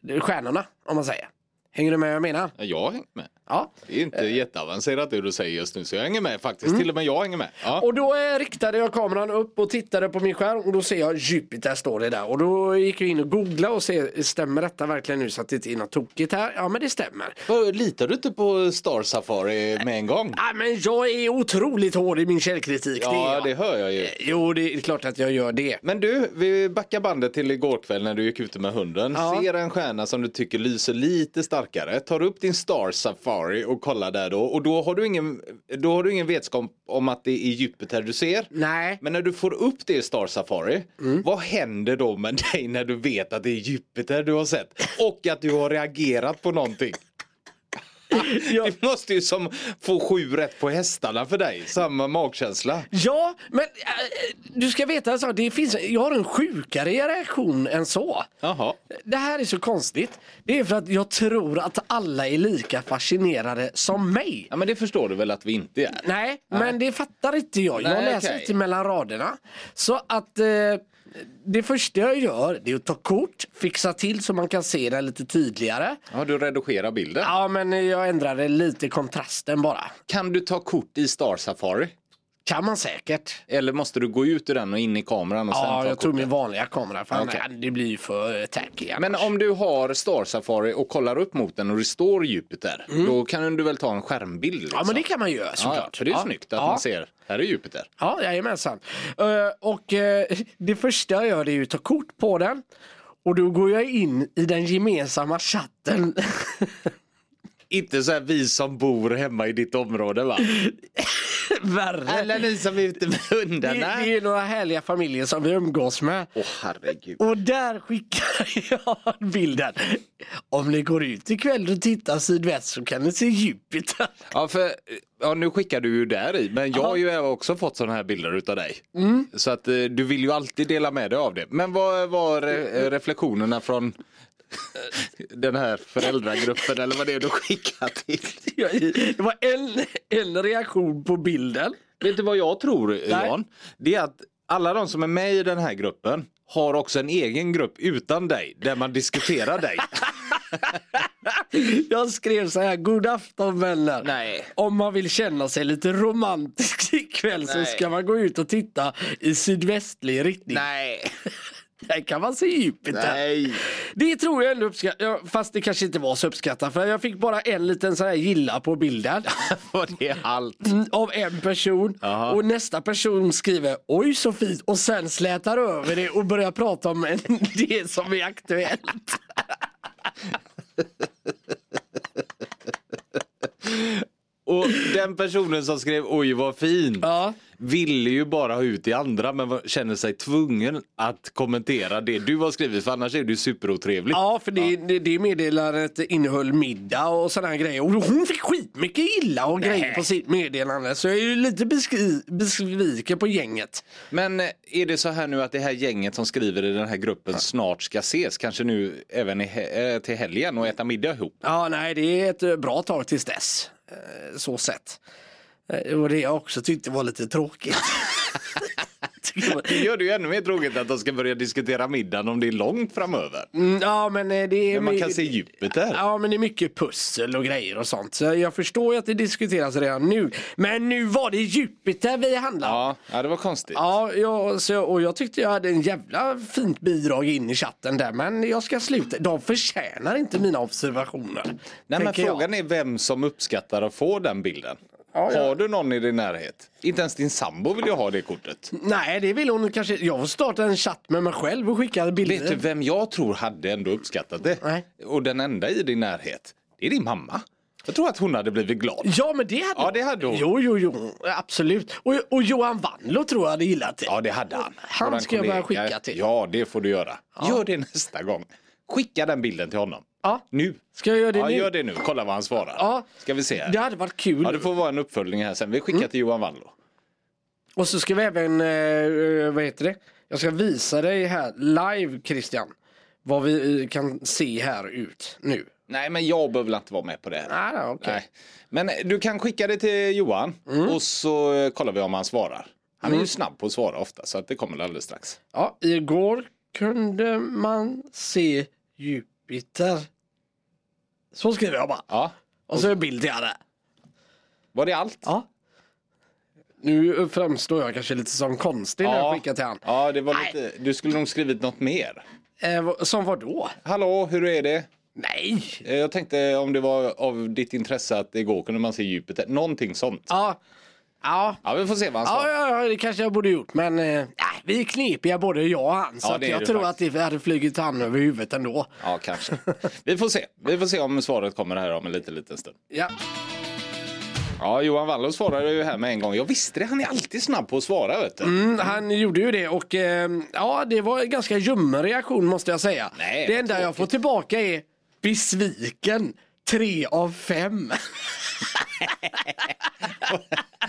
Speaker 2: Det är Stjärnorna, om man säger. Hänger du med vad jag menar?
Speaker 1: Jag hänger med.
Speaker 2: Ja.
Speaker 1: Det är inte jätteavancerat det du säger just nu så jag hänger med faktiskt. Till Mm. och med jag hänger med. Ja.
Speaker 2: Och då eh, riktade jag kameran upp och tittade på min skärm och då ser jag Jupiter står det där. Och då gick jag in och googlade och se, stämmer detta verkligen nu så att det inte är något tokigt här? Ja men det stämmer.
Speaker 1: Vad, Litar du inte på Star Safari med en gång?
Speaker 2: Nej, Ah, men jag är otroligt hård i min källkritik. det är
Speaker 1: Ja,
Speaker 2: jag.
Speaker 1: det hör jag ju.
Speaker 2: Jo, det är klart att jag gör det.
Speaker 1: Men du, vi backar bandet till igår kväll när du gick ute med hunden.
Speaker 2: Ja.
Speaker 1: Ser en stjärna som du tycker lyser lite starkare. Tar upp din Star Safari och kollar där då. Och då har du ingen, då har du ingen vetskap om att det är Jupiter du ser.
Speaker 2: Nej,
Speaker 1: Men när du får upp det i Star Safari,
Speaker 2: Mm.
Speaker 1: vad händer då med dig när du vet att det är Jupiter du har sett? Och att du har reagerat på någonting?
Speaker 2: jag,
Speaker 1: Det måste ju som få sju rätt på hästarna för dig, samma magkänsla.
Speaker 2: ja, men äh, du ska veta alltså, det finns, jag har en sjukare reaktion än så.
Speaker 1: Jaha.
Speaker 2: Det här är så konstigt. Det är för att jag tror att alla är lika fascinerade som mig.
Speaker 1: Ja men det förstår du väl att vi inte är?
Speaker 2: Nej, men det fattar inte jag. Jag
Speaker 1: Nej,
Speaker 2: läser
Speaker 1: okej.
Speaker 2: inte mellan raderna. Så att eh, det första jag gör det är att ta kort, fixa till så man kan se den lite tydligare.
Speaker 1: Ja, du redigerar bilden.
Speaker 2: Ja, men jag ändrade lite kontrasten bara.
Speaker 1: Kan du ta kort i Star Safari?
Speaker 2: Kan man säkert.
Speaker 1: Eller måste du gå ut ur den och in i kameran och sen
Speaker 2: Ja,
Speaker 1: ta
Speaker 2: jag
Speaker 1: korten?
Speaker 2: tog min vanliga kamera. För
Speaker 1: Okej.
Speaker 2: annars- det blir ju för tacky. annars.
Speaker 1: Men om du har Star Safari och kollar upp mot den och det står Jupiter, då kan du väl ta en skärmbild? Liksom.
Speaker 2: Mm. Ja, men det kan man göra
Speaker 1: Ja,
Speaker 2: såklart.
Speaker 1: ja, för det är snyggt att
Speaker 2: ja.
Speaker 1: man ser, här är Jupiter.
Speaker 2: Ja, jajamensan. Eh, Och eh, det första jag gör det är ju att ta kort på den. Och då går jag in i den gemensamma chatten
Speaker 1: Inte så här vi som bor hemma i ditt område va?
Speaker 2: Värre.
Speaker 1: Alla ni som är ute med
Speaker 2: Det, det
Speaker 1: hundarna.
Speaker 2: är ju några härliga familjer som vi umgås med.
Speaker 1: Åh herregud.
Speaker 2: Och där skickar jag bilden. Om ni går ut ikväll och tittar sydväst så kan ni se Jupiter.
Speaker 1: Ja, för, ja, nu skickar du ju där i, men jag har ju även också fått sådana här bilder utav dig. Så att eh, du vill ju alltid dela med dig av det. Men vad var re- reflektionerna från eh, den här föräldragruppen eller vad det är du skickar till?
Speaker 2: Det var en, en reaktion på bilden.
Speaker 1: Vet du vad jag tror
Speaker 2: Nej.
Speaker 1: Jan? Det är att alla de som är med i den här gruppen har också en egen grupp utan dig där man diskuterar dig.
Speaker 2: Jag skrev så här, god afton vänner.
Speaker 1: Nej.
Speaker 2: Om man vill känna sig lite romantisk ikväll så
Speaker 1: Nej.
Speaker 2: ska man gå ut och titta i sydvästlig riktning.
Speaker 1: Nej.
Speaker 2: Där kan man se Jupiter.
Speaker 1: Nej.
Speaker 2: Det tror jag ändå uppskattar, ja, fast det kanske inte var så uppskattat för jag fick bara en liten så här gilla på bilden.
Speaker 1: Var det allt?
Speaker 2: Mm, av en person
Speaker 1: Jaha.
Speaker 2: och nästa person skriver oj så fint och sen slätar över det och börjar prata om en, det som är aktuellt.
Speaker 1: Och den personen som skrev oj vad fin
Speaker 2: Ja.
Speaker 1: ville ju bara ha ut det andra men var- känner sig tvungen att kommentera det du har skrivit för annars är du superotrevlig.
Speaker 2: Ja, för det, det, det meddelandet innehöll middag och sådana här grejer. Och hon fick skitmycket illa och grejer på sitt meddelande. Så jag är ju lite beskri- besviken på gänget.
Speaker 1: Men eh, är det så här nu att det här gänget som skriver i den här gruppen snart ska ses? Kanske nu även i he- eh, till helgen och äta middag ihop?
Speaker 2: Ja, nej, det är ett eh, bra tag tills dess. eh, Så sett. Eh, Det var det jag också tyckte var lite tråkigt. Tycker man-
Speaker 1: Det gör det ju ännu mer tråkigt att de ska börja diskutera middagen om det är långt framöver.
Speaker 2: Mm, ja, men eh, det är...
Speaker 1: Men man
Speaker 2: my-
Speaker 1: kan se djupet där.
Speaker 2: Ja, men det är mycket pussel och grejer och sånt. Så jag förstår ju att det diskuteras redan nu. Men nu var det Jupiter vi handlade.
Speaker 1: Ja, ja det var konstigt.
Speaker 2: Ja, jag, så, och jag tyckte jag hade en jävla fint bidrag in i chatten där. Men jag ska sluta. De förtjänar inte mina observationer.
Speaker 1: Nej, men
Speaker 2: tänker jag.
Speaker 1: frågan är vem som uppskattar att få den bilden.
Speaker 2: Ja, ja.
Speaker 1: Har du någon i din närhet? Inte ens din sambo vill ju ha det kortet.
Speaker 2: Nej, det vill hon kanske. Jag får starta en chatt med mig själv och skicka bilder.
Speaker 1: Vet du vem jag tror hade ändå uppskattat det?
Speaker 2: Nej.
Speaker 1: Och den enda i din närhet, det är din mamma. Jag tror att hon hade blivit glad.
Speaker 2: Ja, men det hade
Speaker 1: Ja, det hade hon.
Speaker 2: Jo, jo, jo. Absolut. Och, och Johan Wanlo tror jag hade gillat det.
Speaker 1: Ja, det hade han.
Speaker 2: Han
Speaker 1: Våran
Speaker 2: ska jag börja
Speaker 1: kollega.
Speaker 2: skicka till.
Speaker 1: Ja, det får du göra. Gör det nästa gång. Skicka den bilden till honom.
Speaker 2: Ja.
Speaker 1: Nu.
Speaker 2: Ska jag göra det
Speaker 1: Ja,
Speaker 2: nu?
Speaker 1: gör det nu. Kolla vad han svarar.
Speaker 2: Ja.
Speaker 1: Ska vi se.
Speaker 2: Det
Speaker 1: Här.
Speaker 2: hade varit kul.
Speaker 1: Ja, det får vara en uppföljning här sen. Vi skickar till Johan Wallo.
Speaker 2: Och så ska vi även, eh, vad heter det? Jag ska visa dig här live Christian. Vad vi eh, kan se här ut nu.
Speaker 1: Nej, men jag behöver väl inte vara med på det här.
Speaker 2: Ah, okej. Mm.
Speaker 1: Nej. Men eh, du kan skicka det till Johan och så eh, kollar vi om han svarar. Han är ju snabb på att svara ofta så att det kommer alldeles strax.
Speaker 2: Ja, igår kunde man se Jupiter. Så skriver jag bara.
Speaker 1: Ja,
Speaker 2: Och så en bild jag hade.
Speaker 1: var det allt?
Speaker 2: Ja. Nu framstår jag kanske lite som konstig när jag skickar till han.
Speaker 1: ja det var lite, du skulle nog skrivit något mer.
Speaker 2: Eh, vad- som vad då?
Speaker 1: Hallå, hur är det?
Speaker 2: Nej!
Speaker 1: Eh, Jag tänkte om det var av ditt intresse att igår kunde man se Jupiter. Någonting sånt.
Speaker 2: Ja. Ja.
Speaker 1: Ja, vi får se vad han
Speaker 2: Ja,
Speaker 1: svarar.
Speaker 2: ja, ja, det kanske jag borde gjort. Men eh, äh, vi är knepiga både jag och han. Så
Speaker 1: Ja,
Speaker 2: att
Speaker 1: det är
Speaker 2: jag
Speaker 1: du
Speaker 2: tror
Speaker 1: faktiskt.
Speaker 2: att det hade flugit han över huvudet ändå.
Speaker 1: Ja, kanske. Vi får se. Vi får se om svaret kommer här om en liten, liten stund.
Speaker 2: Ja.
Speaker 1: Ja, Johan Wallo svarade ju här med en gång. Jag visste det, han är alltid snabb på att svara vet du.
Speaker 2: Mm, han gjorde ju det och eh, ja, det var en ganska ljummen reaktion måste jag säga.
Speaker 1: Nej,
Speaker 2: det
Speaker 1: vad
Speaker 2: enda jag
Speaker 1: tråkigt.
Speaker 2: får tillbaka är besviken. Tre av fem.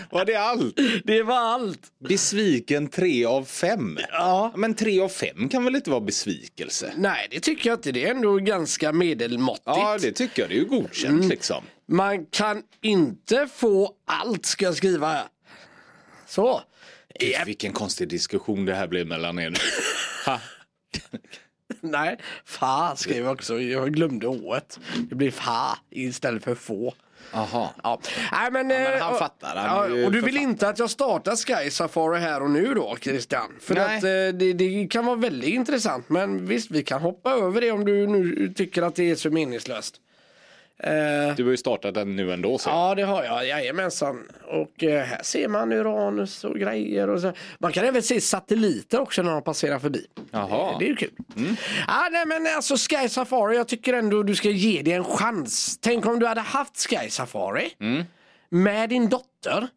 Speaker 1: Var det allt?
Speaker 2: Det var allt.
Speaker 1: Besviken 3 av 5.
Speaker 2: Ja.
Speaker 1: Men 3 av 5 kan väl inte vara besvikelse?
Speaker 2: Nej, det tycker jag inte. Det är ändå ganska medelmåttigt.
Speaker 1: Ja, det tycker jag. Det är ju godkänt
Speaker 2: Mm.
Speaker 1: liksom.
Speaker 2: Man kan inte få allt ska jag skriva. här. Så.
Speaker 1: Gud, vilken konstig diskussion det här blir mellan er nu. Ha.
Speaker 2: Nej, fa skrev jag också. Jag glömde ået. Det blir fa istället för få.
Speaker 1: Aha.
Speaker 2: Ja. Nej, men, eh,
Speaker 1: han
Speaker 2: och-
Speaker 1: fattar, han är
Speaker 2: ja,
Speaker 1: ju
Speaker 2: och du vill
Speaker 1: författare.
Speaker 2: inte att jag startar Sky Safari här och nu då Christian? För
Speaker 1: Nej.
Speaker 2: att eh, det, det kan vara väldigt intressant men visst vi kan hoppa över det om du nu tycker att det är så meningslöst. Eh,
Speaker 1: Du har ju startat den nu ändå. Så.
Speaker 2: Ja, det har jag. Jajamensan. Och eh, här ser man Uranus och grejer. Och så. Man kan även se satelliter också när de passerar förbi.
Speaker 1: Jaha.
Speaker 2: Eh, Det är ju kul. Ah, nej, men alltså Sky Safari, jag tycker ändå du ska ge det en chans. Tänk om du hade haft Sky Safari med din dotter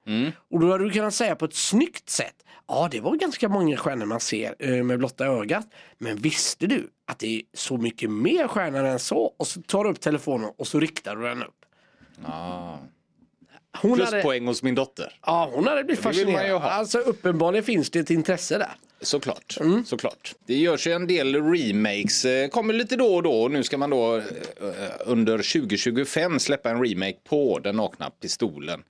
Speaker 2: och då hade du kunnat säga på ett snyggt sätt Ja, det var ganska många stjärnor man ser eh, med blotta ögat. Men visste du att det är så mycket mer stjärnor än så? Och så tar du upp telefonen och så riktar du den upp.
Speaker 1: Ah.
Speaker 2: Hon
Speaker 1: Plus
Speaker 2: hade-
Speaker 1: poäng hos min dotter.
Speaker 2: Ja, hon hade blivit
Speaker 1: Det vill man ju
Speaker 2: fascinerad.
Speaker 1: ha.
Speaker 2: Alltså uppenbarligen finns det ett intresse där.
Speaker 1: Såklart. Såklart. Det görs ju en del remakes. eh, Kommer lite då och då. Nu ska man då eh, under 2025 släppa en remake på Den nakna pistolen.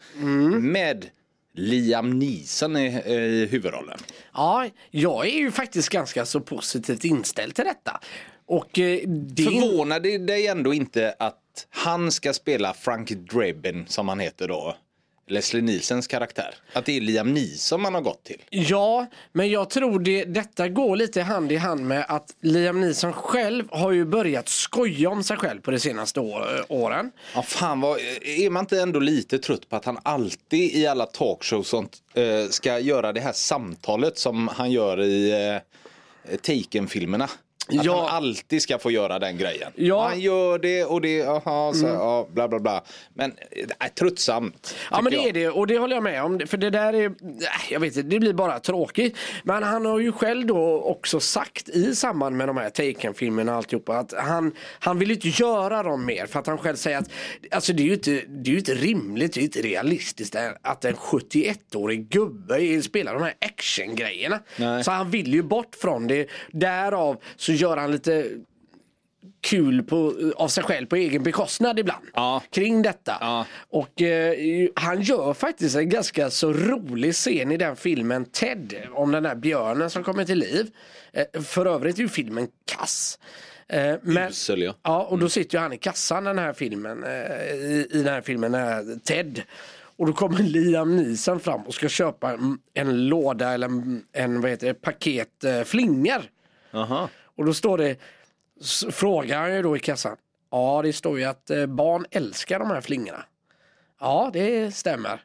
Speaker 1: Med Liam Neeson i, eh, i huvudrollen.
Speaker 2: Ja, jag är ju faktiskt ganska så positivt inställd till detta. Och eh, det...
Speaker 1: Förvånar det dig ändå inte att han ska spela Frank Drebin som han heter då? Leslie Nielsens karaktär. Att det är Liam Neeson man har gått till.
Speaker 2: Ja, men jag tror det, detta går lite hand i hand med att Liam Neeson själv har ju börjat skoja om sig själv på de senaste å- åren.
Speaker 1: Ja, fan vad, är man inte ändå lite trött på att han alltid i alla talkshows sånt, eh, ska göra det här samtalet som han gör i eh, Taken-filmerna? Att
Speaker 2: Ja.
Speaker 1: han alltid ska få göra den grejen.
Speaker 2: Ja. Mm.
Speaker 1: Han gör det och det, aha, så, ja, bla bla bla. Men äh, tröttsamt.
Speaker 2: Ja men det
Speaker 1: tycker
Speaker 2: är det och det håller jag med om. För det där är, nej, jag vet inte, det blir bara tråkigt. Men han har ju själv då också sagt i samband med de här Taken-filmerna och alltihopa att han, han vill ju inte göra dem mer för att han själv säger att alltså det är ju inte, det är ju inte rimligt, det är ju inte realistiskt att en 71-årig gubbe spelar de här actiongrejerna.
Speaker 1: Nej.
Speaker 2: Så han vill ju bort från det. Därav så gör han lite kul på, av sig själv på egen bekostnad ibland.
Speaker 1: Ja.
Speaker 2: Kring detta.
Speaker 1: Ja.
Speaker 2: Och eh, han gör faktiskt en ganska så rolig scen i den filmen Ted. Om den där björnen som kommer till liv. Eh, för övrigt är ju filmen kass. Eh, men,
Speaker 1: Usel, ja. Mm.
Speaker 2: Ja, och då sitter ju han i kassan den här filmen, eh, i, i den här filmen, den här Ted. Och då kommer Liam Neeson fram och ska köpa en, en låda eller en, en vad heter det, paket eh, flingor.
Speaker 1: Aha.
Speaker 2: Och då står det, s- frågar han ju då i kassan. Ja, det står ju att eh, barn älskar de här flingorna. Ja, det stämmer.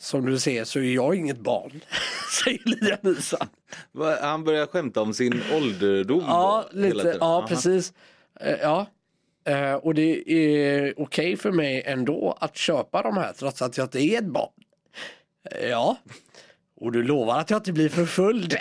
Speaker 2: Som du ser så är jag inget barn, säger Liam Neeson.
Speaker 1: Va, Han börjar skämta om sin ålderdom.
Speaker 2: Ja,
Speaker 1: då, hela
Speaker 2: lite.
Speaker 1: tiden.
Speaker 2: Ja,
Speaker 1: Aha.
Speaker 2: precis. Eh, Ja. Eh, Och det är okej för mig ändå att köpa de här trots att jag inte är ett barn. Eh, Ja. Och du lovar att jag inte blir förföljd?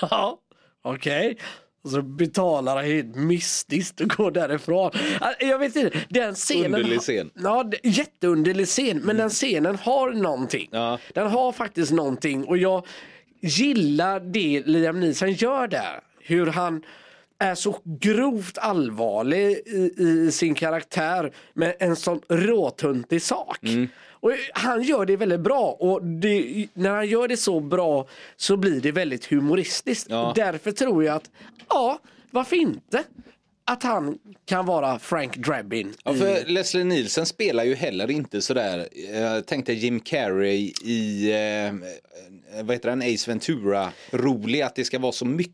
Speaker 2: ja. Okej. Och så betalar han helt mystiskt och går därifrån. Ah, Jag vet inte, den scenen...
Speaker 1: Underlig scen.
Speaker 2: Ja, det- jätteunderlig scen. Men den scenen har någonting.
Speaker 1: Ja.
Speaker 2: Den har faktiskt någonting och jag gillar det Liam Neeson gör där. Hur han är så grovt allvarlig i, i sin karaktär med en sån råtuntig sak.
Speaker 1: Mm.
Speaker 2: Och han gör det väldigt bra och det, när han gör det så bra så blir det väldigt humoristiskt.
Speaker 1: Ja.
Speaker 2: Därför tror jag att, ja, varför inte? Att han kan vara Frank Drabin.
Speaker 1: Ja,
Speaker 2: i-
Speaker 1: för Leslie Nielsen spelar ju heller inte sådär. Jag tänkte Jim Carrey i eh, vad heter den, Ace Ventura rolig att det ska vara så mycket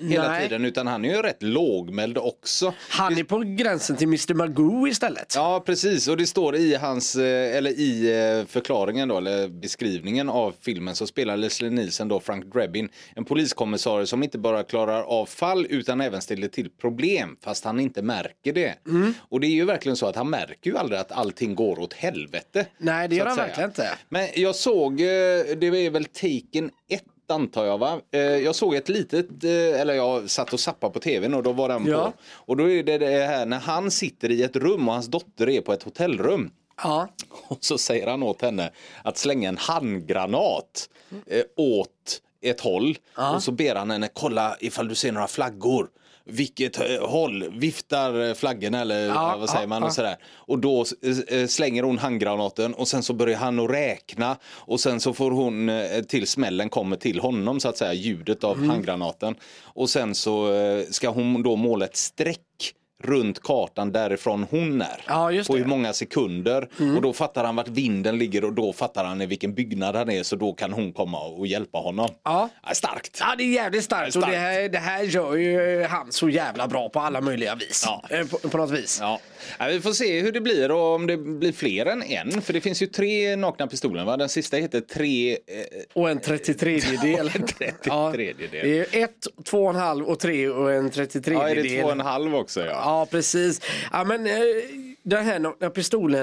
Speaker 1: hela
Speaker 2: nej.
Speaker 1: tiden utan han är ju rätt lågmäld också.
Speaker 2: Han är på gränsen till Mr Magoo istället.
Speaker 1: Ja precis och det står i hans eh, eller i eh, förklaringen då eller beskrivningen av filmen så spelar Leslie Nielsen då Frank Drebin en poliskommissarie som inte bara klarar av fall utan även ställer till problem fast han inte märker det.
Speaker 2: Mm.
Speaker 1: Och det är ju verkligen så att han märker ju aldrig att allting går åt helvete.
Speaker 2: Nej, det
Speaker 1: så
Speaker 2: gör
Speaker 1: att
Speaker 2: han
Speaker 1: säga.
Speaker 2: verkligen inte.
Speaker 1: Men jag såg, eh, det är väl Taken 1 antar jag va? Eh, Jag såg ett litet, eh, eller jag satt och zappade på tvn och då var den
Speaker 2: Ja.
Speaker 1: på. Och då är det det här när han sitter i ett rum och hans dotter är på ett hotellrum.
Speaker 2: Ja.
Speaker 1: Och så säger han åt henne att slänga en handgranat eh, åt ett håll. Och så ber han henne kolla ifall du ser några flaggor. Vilket eh, håll viftar eh, flaggorna eller ja, vad säger
Speaker 2: ja,
Speaker 1: man
Speaker 2: ja.
Speaker 1: och sådär. Och då eh, eh, slänger hon handgranaten och sen så börjar han att räkna och sen så får hon eh, till smällen kommer till honom så att
Speaker 2: Mm.
Speaker 1: säga ljudet av handgranaten. Och sen så eh, ska hon då måla ett streck runt kartan därifrån hon är.
Speaker 2: Ja, just
Speaker 1: på
Speaker 2: det.
Speaker 1: hur många sekunder.
Speaker 2: Mm.
Speaker 1: Och då fattar han vart vinden ligger och då fattar han i vilken byggnad han är så då kan hon komma och hjälpa honom.
Speaker 2: Ja.
Speaker 1: starkt!
Speaker 2: Ja det är jävligt starkt,
Speaker 1: Starkt.
Speaker 2: och det här, det här gör ju han så jävla bra på alla möjliga vis.
Speaker 1: Ja.
Speaker 2: Eh, På, på något vis.
Speaker 1: Ja. Ja, vi får se hur det blir och om det blir fler än en. För det finns ju tre nakna pistolen. Va? Den sista heter tre... Eh,
Speaker 2: Och en 33 del.
Speaker 1: en 33 del.
Speaker 2: Det är ju ett, två och en halv och tre och en 33
Speaker 1: ja, är
Speaker 2: del.
Speaker 1: det två och en halv också? Ja.
Speaker 2: Ja, precis. Ja, men, eh, den här nakna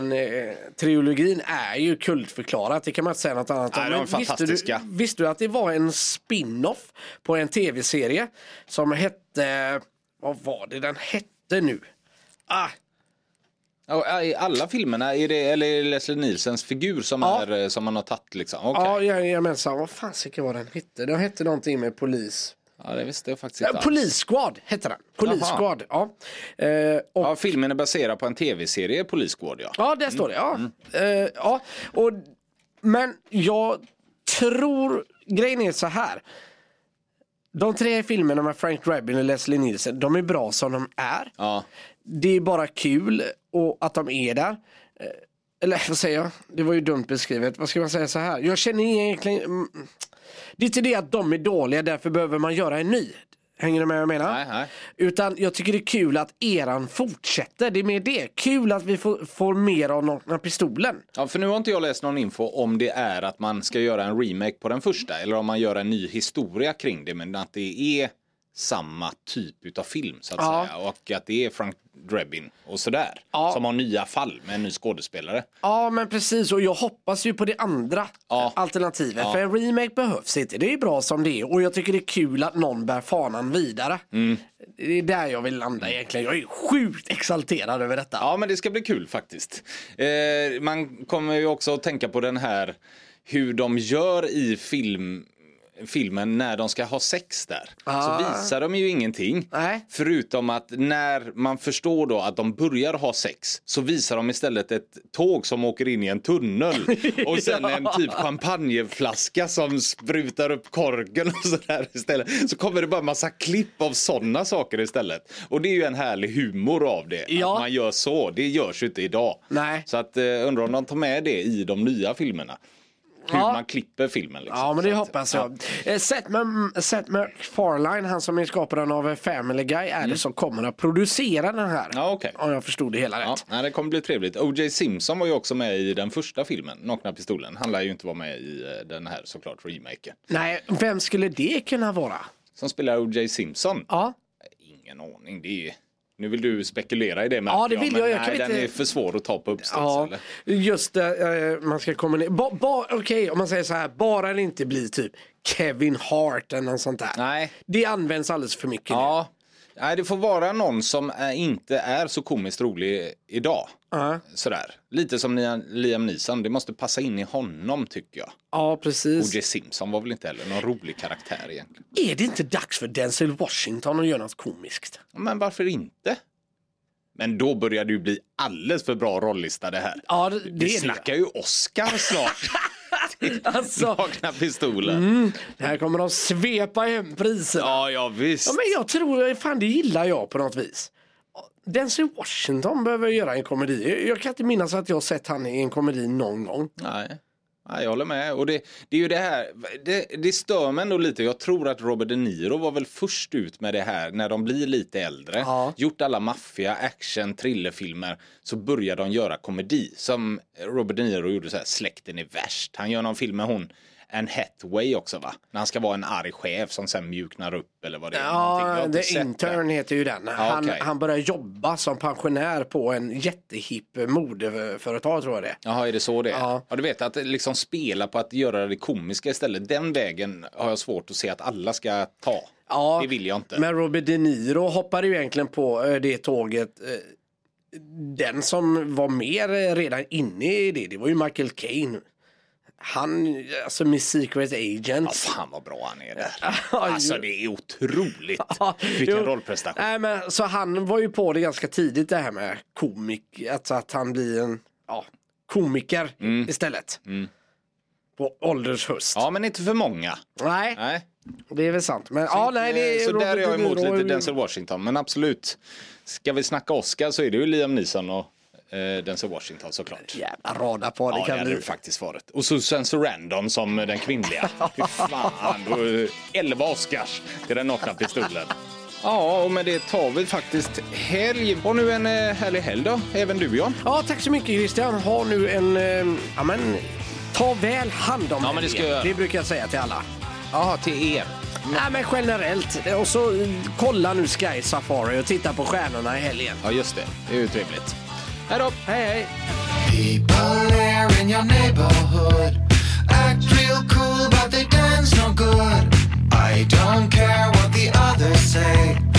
Speaker 2: pistolen-trilogin eh, är ju kultförklarat. Det kan man inte säga något annat
Speaker 1: Nej, de är
Speaker 2: Men visste, du,
Speaker 1: fantastiska.
Speaker 2: visste du att det var en spin-off på en tv-serie som hette... Vad var det den hette nu? Ah,
Speaker 1: Ja, I alla filmerna, är det, eller är det Leslie Nielsens figur som,
Speaker 2: Ja.
Speaker 1: är, eh, som man har tagit? Liksom? Okej.
Speaker 2: Ja, jajamensan. Vad fan säkert var den hette? Den hette någonting med polis.
Speaker 1: Ja, det visste jag faktiskt
Speaker 2: Ja,
Speaker 1: inte. alls.
Speaker 2: Polissquad Eh, hette den. Polissquad, ja. Eh, och, ja.
Speaker 1: Ja, filmen är baserad på en tv-serie, Polisgård. Ja.
Speaker 2: där står det. Ja. Eh, ja. Och, men jag tror, grejen är så här. De tre filmerna med Frank Drabin och Leslie Nielsen, de är bra som de är.
Speaker 1: Ja.
Speaker 2: Det är bara kul och att de är där. Eh, Eller vad säger jag? Det var ju dumt beskrivet. Vad ska man säga så här? Jag känner egentligen... mm, Det är inte det att de är dåliga, därför behöver man göra en ny. Hänger du med vad jag menar?
Speaker 1: Nej, nej.
Speaker 2: Utan jag tycker det är kul att eran fortsätter. Det är mer det. Kul att vi får, får mer av Nakna Pistolen.
Speaker 1: Ja, för nu har inte jag läst någon info om det är att man ska göra en remake på den första eller om man gör en ny historia kring det men att det är samma typ utav film så att
Speaker 2: Ja.
Speaker 1: säga och att det är Frank Drebin och sådär
Speaker 2: Ja.
Speaker 1: som har nya fall med en ny skådespelare.
Speaker 2: Ja men precis och jag hoppas ju på det andra
Speaker 1: Ja.
Speaker 2: alternativet. För en remake behövs inte. Det är bra som det är och jag tycker det är kul att någon bär fanan vidare.
Speaker 1: Mm.
Speaker 2: Det är där jag vill landa egentligen. Jag är sjukt exalterad över detta.
Speaker 1: Ja, men det ska bli kul faktiskt. Eh, man kommer ju också att tänka på den här hur de gör i film, filmen när de ska ha sex där.
Speaker 2: Ah.
Speaker 1: Så visar de ju ingenting.
Speaker 2: Nej.
Speaker 1: Förutom att när man förstår då att de börjar ha sex så visar de istället ett tåg som åker in i en tunnel och sen en typ champagneflaska som sprutar upp korken och sådär istället. Så kommer det bara massa klipp av sådana saker istället. Och det är ju en härlig humor av det.
Speaker 2: Ja.
Speaker 1: Att man gör så, det görs ju inte idag.
Speaker 2: Nej.
Speaker 1: Så att eh, undrar om de tar med det i de nya filmerna. Hur
Speaker 2: Ja.
Speaker 1: man klipper filmen liksom.
Speaker 2: Ja men
Speaker 1: Så
Speaker 2: det
Speaker 1: att-
Speaker 2: hoppas jag. Eh, Seth, M- Seth MacFarlane, han som är skaparen av eh, Family Guy, är det som kommer att producera den här.
Speaker 1: Mm. Ja, okej.
Speaker 2: Om jag förstod det hela
Speaker 1: Ja,
Speaker 2: rätt.
Speaker 1: nej, det kommer bli trevligt. O.J. Simpson var ju också med i den första filmen, Nakna pistolen. Han lär ju inte vara med i eh, den här såklart remaken.
Speaker 2: Nej, vem skulle det kunna vara?
Speaker 1: Som spelar O.J. Simpson?
Speaker 2: Ja,
Speaker 1: Ingen aning. Det är... ju- Nu vill du spekulera i det
Speaker 2: Ja, det vill
Speaker 1: men
Speaker 2: jag. Jag kan
Speaker 1: nej,
Speaker 2: inte-
Speaker 1: Den är för svår att ta på uppstuds.
Speaker 2: Ja,
Speaker 1: eller?
Speaker 2: just det. eh, Man ska komma ner. Ba, ba, Okej, om man säger så här. Bara det inte blir typ Kevin Hart eller något sånt där.
Speaker 1: Nej.
Speaker 2: Det används alldeles för mycket. nu.
Speaker 1: Ja. Nej, det får vara någon som eh, inte är så komiskt rolig idag.
Speaker 2: Ja,
Speaker 1: Sådär. Lite som Liam- Liam Neeson, det måste passa in i honom tycker jag.
Speaker 2: ja precis.
Speaker 1: O.J. Simpson var väl inte heller någon rolig karaktär egentligen.
Speaker 2: Är det inte dags för Denzel Washington att göra något komiskt?
Speaker 1: Men varför inte? Men då börjar det ju bli alldeles för bra rollista det här.
Speaker 2: Ja, det, det
Speaker 1: Vi
Speaker 2: är det.
Speaker 1: snackar ju Oscar snart.
Speaker 2: Alltså,
Speaker 1: Vakna pistolen.
Speaker 2: Mm. här kommer de svepa hem priserna.
Speaker 1: Ja, ja visst.
Speaker 2: Ja, men jag tror, fan det gillar jag på något vis. Denzel Washington behöver göra en komedi. Jag- Jag kan inte minnas att jag har sett han i en komedi någon gång.
Speaker 1: Nej. Nej, jag håller med. Och det, det är ju det här, det, det stör mig ändå lite. Jag tror att Robert De Niro var väl först ut med det här när de blir lite äldre.
Speaker 2: Ja.
Speaker 1: Gjort alla maffia, action, thrillerfilmer så börjar de göra komedi. Som Robert De Niro gjorde så här, släkten är värst. Han gör någon film med hon Anne Hathaway också va? När han ska vara en arg chef som sen mjuknar upp eller vad det är. någonting. Jag har
Speaker 2: Ja,
Speaker 1: inte
Speaker 2: The
Speaker 1: sett
Speaker 2: Intern heter ju den. Han,
Speaker 1: okej.
Speaker 2: han börjar jobba som pensionär på en jättehipp modeföretag tror jag det är.
Speaker 1: Jaha, är det så det är?
Speaker 2: Ja.
Speaker 1: Ja. du vet att liksom spela på att göra det komiska istället. Den vägen har jag svårt att se att alla ska ta.
Speaker 2: Ja,
Speaker 1: Det vill jag inte.
Speaker 2: Men Robert De Niro hoppade ju egentligen på eh, det tåget. eh, Den som var mer eh, redan inne i det, det var ju Michael Caine. Han, alltså med Secret
Speaker 1: Ja,
Speaker 2: Agents.
Speaker 1: fan vad bra han är där.
Speaker 2: Ja,
Speaker 1: Alltså det är otroligt.
Speaker 2: Ja,
Speaker 1: Vilken
Speaker 2: jo.
Speaker 1: rollprestation.
Speaker 2: Nej, men, så han var ju på det ganska tidigt det här med komik, alltså att han blir en ja, komiker
Speaker 1: Mm.
Speaker 2: istället. På ålders höst.
Speaker 1: Ja men inte för många.
Speaker 2: Nej.
Speaker 1: Nej. Eh,
Speaker 2: Det är väl sant. Men ja, nej, det är
Speaker 1: så där är jag
Speaker 2: De
Speaker 1: emot
Speaker 2: Niro
Speaker 1: lite
Speaker 2: och-
Speaker 1: Denzel Washington. Men absolut, ska vi snacka Oscar så är det ju Liam Neeson och eh, Denzel Washington såklart.
Speaker 2: Jävla rada på det
Speaker 1: Ja, det
Speaker 2: kan
Speaker 1: hade
Speaker 2: bli.
Speaker 1: det faktiskt varit. Och Susan Sarandon som den kvinnliga. Fy fan, då- 11 Oscars till den nakna pistolen. Ja, och med det tar vi faktiskt helg. Och nu en eh, härlig helg då, även du John.
Speaker 2: Ja, tack så mycket Christian. Ha nu en... eh, Ja, men ta väl hand om
Speaker 1: Ja, men det ska jag göra.
Speaker 2: det brukar jag säga till alla.
Speaker 1: Ja, till er.
Speaker 2: Nej, men generellt. Och så eh, kolla nu Sky Safari och titta på stjärnorna i helgen.
Speaker 1: Ja, just det. Det är ju trevligt. Hej då!
Speaker 2: Hej, hej!
Speaker 3: People there in your neighborhood act real cool, but they dance no good. I don't care what the others say.